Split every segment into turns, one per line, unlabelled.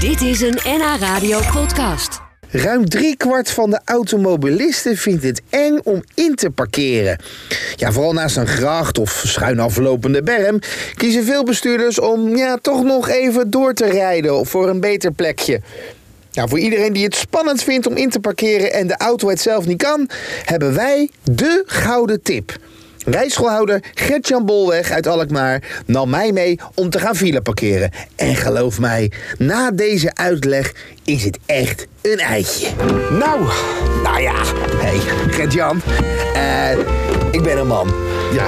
Dit is een NH Radio podcast.
Ruim driekwart van de automobilisten vindt het eng om in te parkeren. Ja, vooral naast een gracht of schuin aflopende berm kiezen veel bestuurders om ja, toch nog even door te rijden voor een beter plekje. Nou, voor iedereen die het spannend vindt om in te parkeren en de auto het zelf niet kan, hebben wij de gouden tip. Rijschoolhouder Gertjan Bolweg uit Alkmaar nam mij mee om te gaan file parkeren. En geloof mij, na deze uitleg is het echt een eitje. Nou, nou ja, hey, Gert-Jan, eh, ik ben een man.
Ja,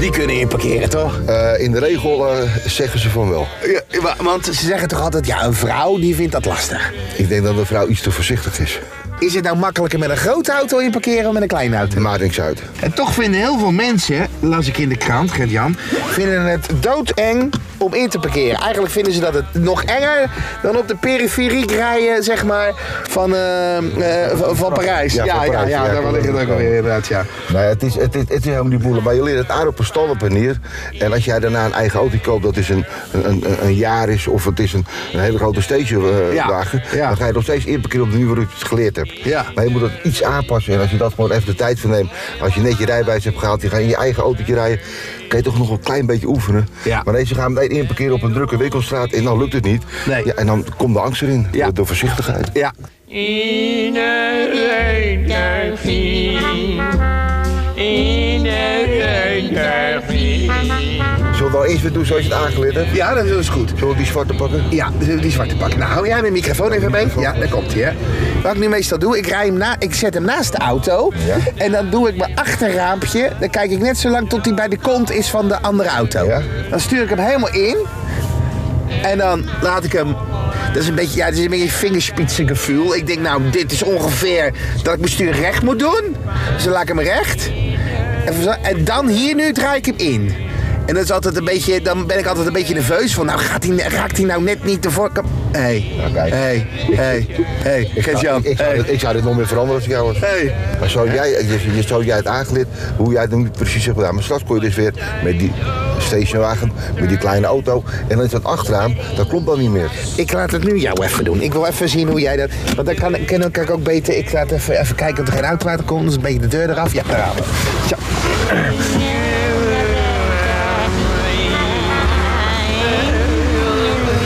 Die kunnen in parkeren, toch?
eh, in de regel eh, zeggen ze van wel.
Ja, wa- want ze zeggen toch altijd, ja, een vrouw die vindt dat lastig.
Ik denk dat de vrouw iets te voorzichtig is.
Is het nou makkelijker met een grote auto in parkeren dan met een kleine auto?
Maakt niks uit.
En toch vinden heel veel mensen, las ik in de krant, Gert-Jan, vinden het doodeng om in te parkeren. Eigenlijk vinden ze dat het nog enger dan op de periferiek rijden, zeg maar, van, eh, eh, van, van Parijs.
Ja,
Ja,
van
ja, ja,
Parijs, ja,
daar
kan
ligt het
ook
ook
wel.
alweer, inderdaad, ja.
Nou ja, het is, het, is, het is helemaal niet moeilijk, maar je leert het aan op een stallenpanier. En als jij daarna een eigen auto koopt, dat is een, een, een, een jaar is of het is een, een hele grote
Ja,
stagewagen,
ja.
dan ga je nog steeds inparkeren op de manier waarop je het geleerd hebt.
Ja.
Maar je moet dat iets aanpassen en als je dat gewoon even de tijd voor neemt, als je net je rijbewijs hebt gehaald, je gaat in je eigen autootje rijden, kan je toch nog een klein beetje oefenen.
Ja.
Maar deze gaan meteen inparkeren op een drukke winkelstraat en dan lukt het niet.
Nee.
Ja, en dan komt de angst erin,
Ja.
door voorzichtigheid.
Ja,
Iedereen daar vriend. Iedereen daar vriend.
Zullen we wel eens weer doen zoals je het aangeleerd hebt?
ja dat is dus goed.
Zullen we die zwarte pakken?
Ja, dus die zwarte pak. Nou, hou jij mijn microfoon even mee? Ja, daar komt hij, hè. Wat ik nu meestal doe, ik, rij hem na, ik zet hem naast de auto.
Ja.
En dan doe ik mijn achterraampje. Dan kijk ik net zo lang tot hij bij de kont is van de andere auto.
Ja.
Dan stuur ik hem helemaal in. En dan laat ik hem... Dat is een beetje, ja, dat is een beetje een vingerspitsengevoel. Ik denk, nou, dit is ongeveer dat ik mijn stuur recht moet doen. Dus dan laat ik hem recht. En, verza- en dan hier nu draai ik hem in. En dat is altijd een beetje, dan ben ik altijd een beetje nerveus van, nou gaat hij, raakt hij nou net niet de voorkant? Hé,
Nou,
hé,
kijk.
hé, hé, hé, Gert-Jan,
Ik, ik, zou
hey.
dit, ik zou dit nog meer veranderen als ik jou was.
Hey.
Maar zo jij, je, je- zo jij het aangeleerd, hoe jij het nu precies hebt gedaan. Maar straks kon je dus weer met die stationwagen, met die kleine auto. En dan is dat achteraan, dat klopt dan niet meer.
Ik laat het nu jou even doen. Ik wil even zien hoe jij dat. Want dan kan, kan, kan ik ook beter. Ik laat even, even kijken of er geen auto uit komt. Dus een beetje de deur eraf. Ja, daar gaan we. Zo.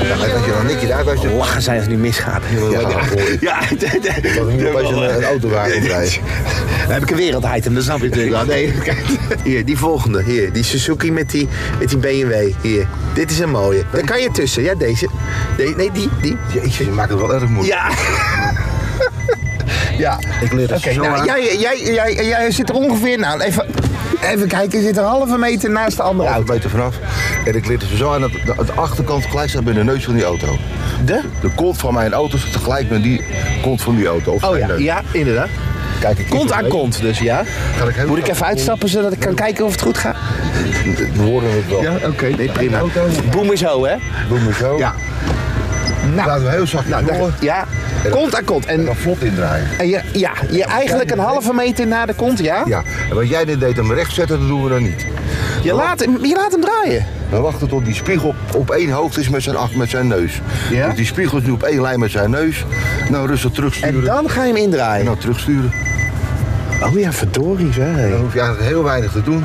Ja, en dat je dan niks uit als je...
Lachen zijn als het nu misgaat.
Ja, hoor.
ja.
Dat is niet opeens een,
eh,
een autowagen rijden.
Dan heb ik een werelditem, dat snap je natuurlijk wel. Nee, kijk. Hier, die volgende. Hier, die Suzuki met die, met die BMW. Hier, dit is een mooie. Daar kan je tussen. Ja, deze. Nee, nee die, die.
Jeetje, je maakt het wel erg moeilijk.
Ja. ja.
Ik leer het
Oké,
zo
nou,
aan.
jij, jij, jij, jij zit er ongeveer, nou, even, even kijken, je zit een halve meter naast de andere
Halve
auto.
meter vanaf. En ik leer het zo aan dat de, de achterkant gelijk staat bij de neus van die auto.
De?
De kont van mijn auto staat gelijk met die kont van die auto. Of
Oh
mijn
ja,
neus.
ja, inderdaad.
Kijk, ik
Kont aan kont dus, ja.
Ga ik heel
Moet ik
snel-
even uitstappen zodat ik kan kijken of het goed gaat?
We horen het wel.
oké. Nee, prima.
Auto.
Boem is ho, hè?
Doe maar zo.
Ja. Nou,
Laten we heel zachtjes
nou,
nou,
daar- ja. Kont aan kont.
En
En,
dan vlot indraaien.
en je, ja, je eigenlijk een halve meter na de kont, ja?
Ja, en wat jij net deed hem recht zetten, dat doen we dan niet.
Je laat, hem- je laat hem draaien.
We wachten tot die spiegel op één hoogte is met zijn, ach- met zijn neus.
Ja?
Dus die spiegel is nu op één lijn met zijn neus. Nou, rustig terugsturen.
En dan ga je hem
En
indraaien.
dan terugsturen.
Oh ja, verdorie zeg.
Dan hoef je eigenlijk heel weinig te doen.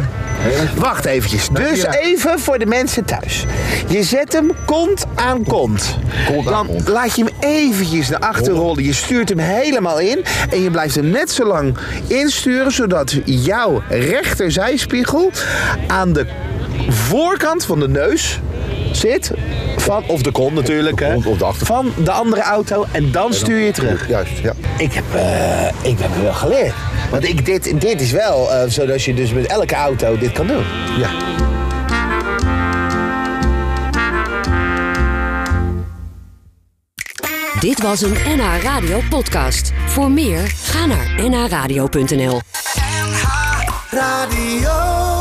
Wacht eventjes.
Nou,
Dus
ja.
even voor de mensen thuis. Je zet hem kont aan kont.
Kont aan
Dan
kont.
laat je hem eventjes naar achter rollen. Je stuurt hem helemaal in. En je blijft hem net zo lang insturen... zodat jouw rechterzijspiegel aan de voorkant van de neus zit... Van, of de kont natuurlijk, hè,
kont of de achter-
van de andere auto. En dan stuur je terug.
Juist, ja.
Ik heb, eh, ik heb wel geleerd. Want ik, dit, dit is wel eh, zodat je dus met elke auto dit kan doen.
ja.
Dit was een NH Radio podcast. Voor meer, ga naar nhradio.nl.
Radio.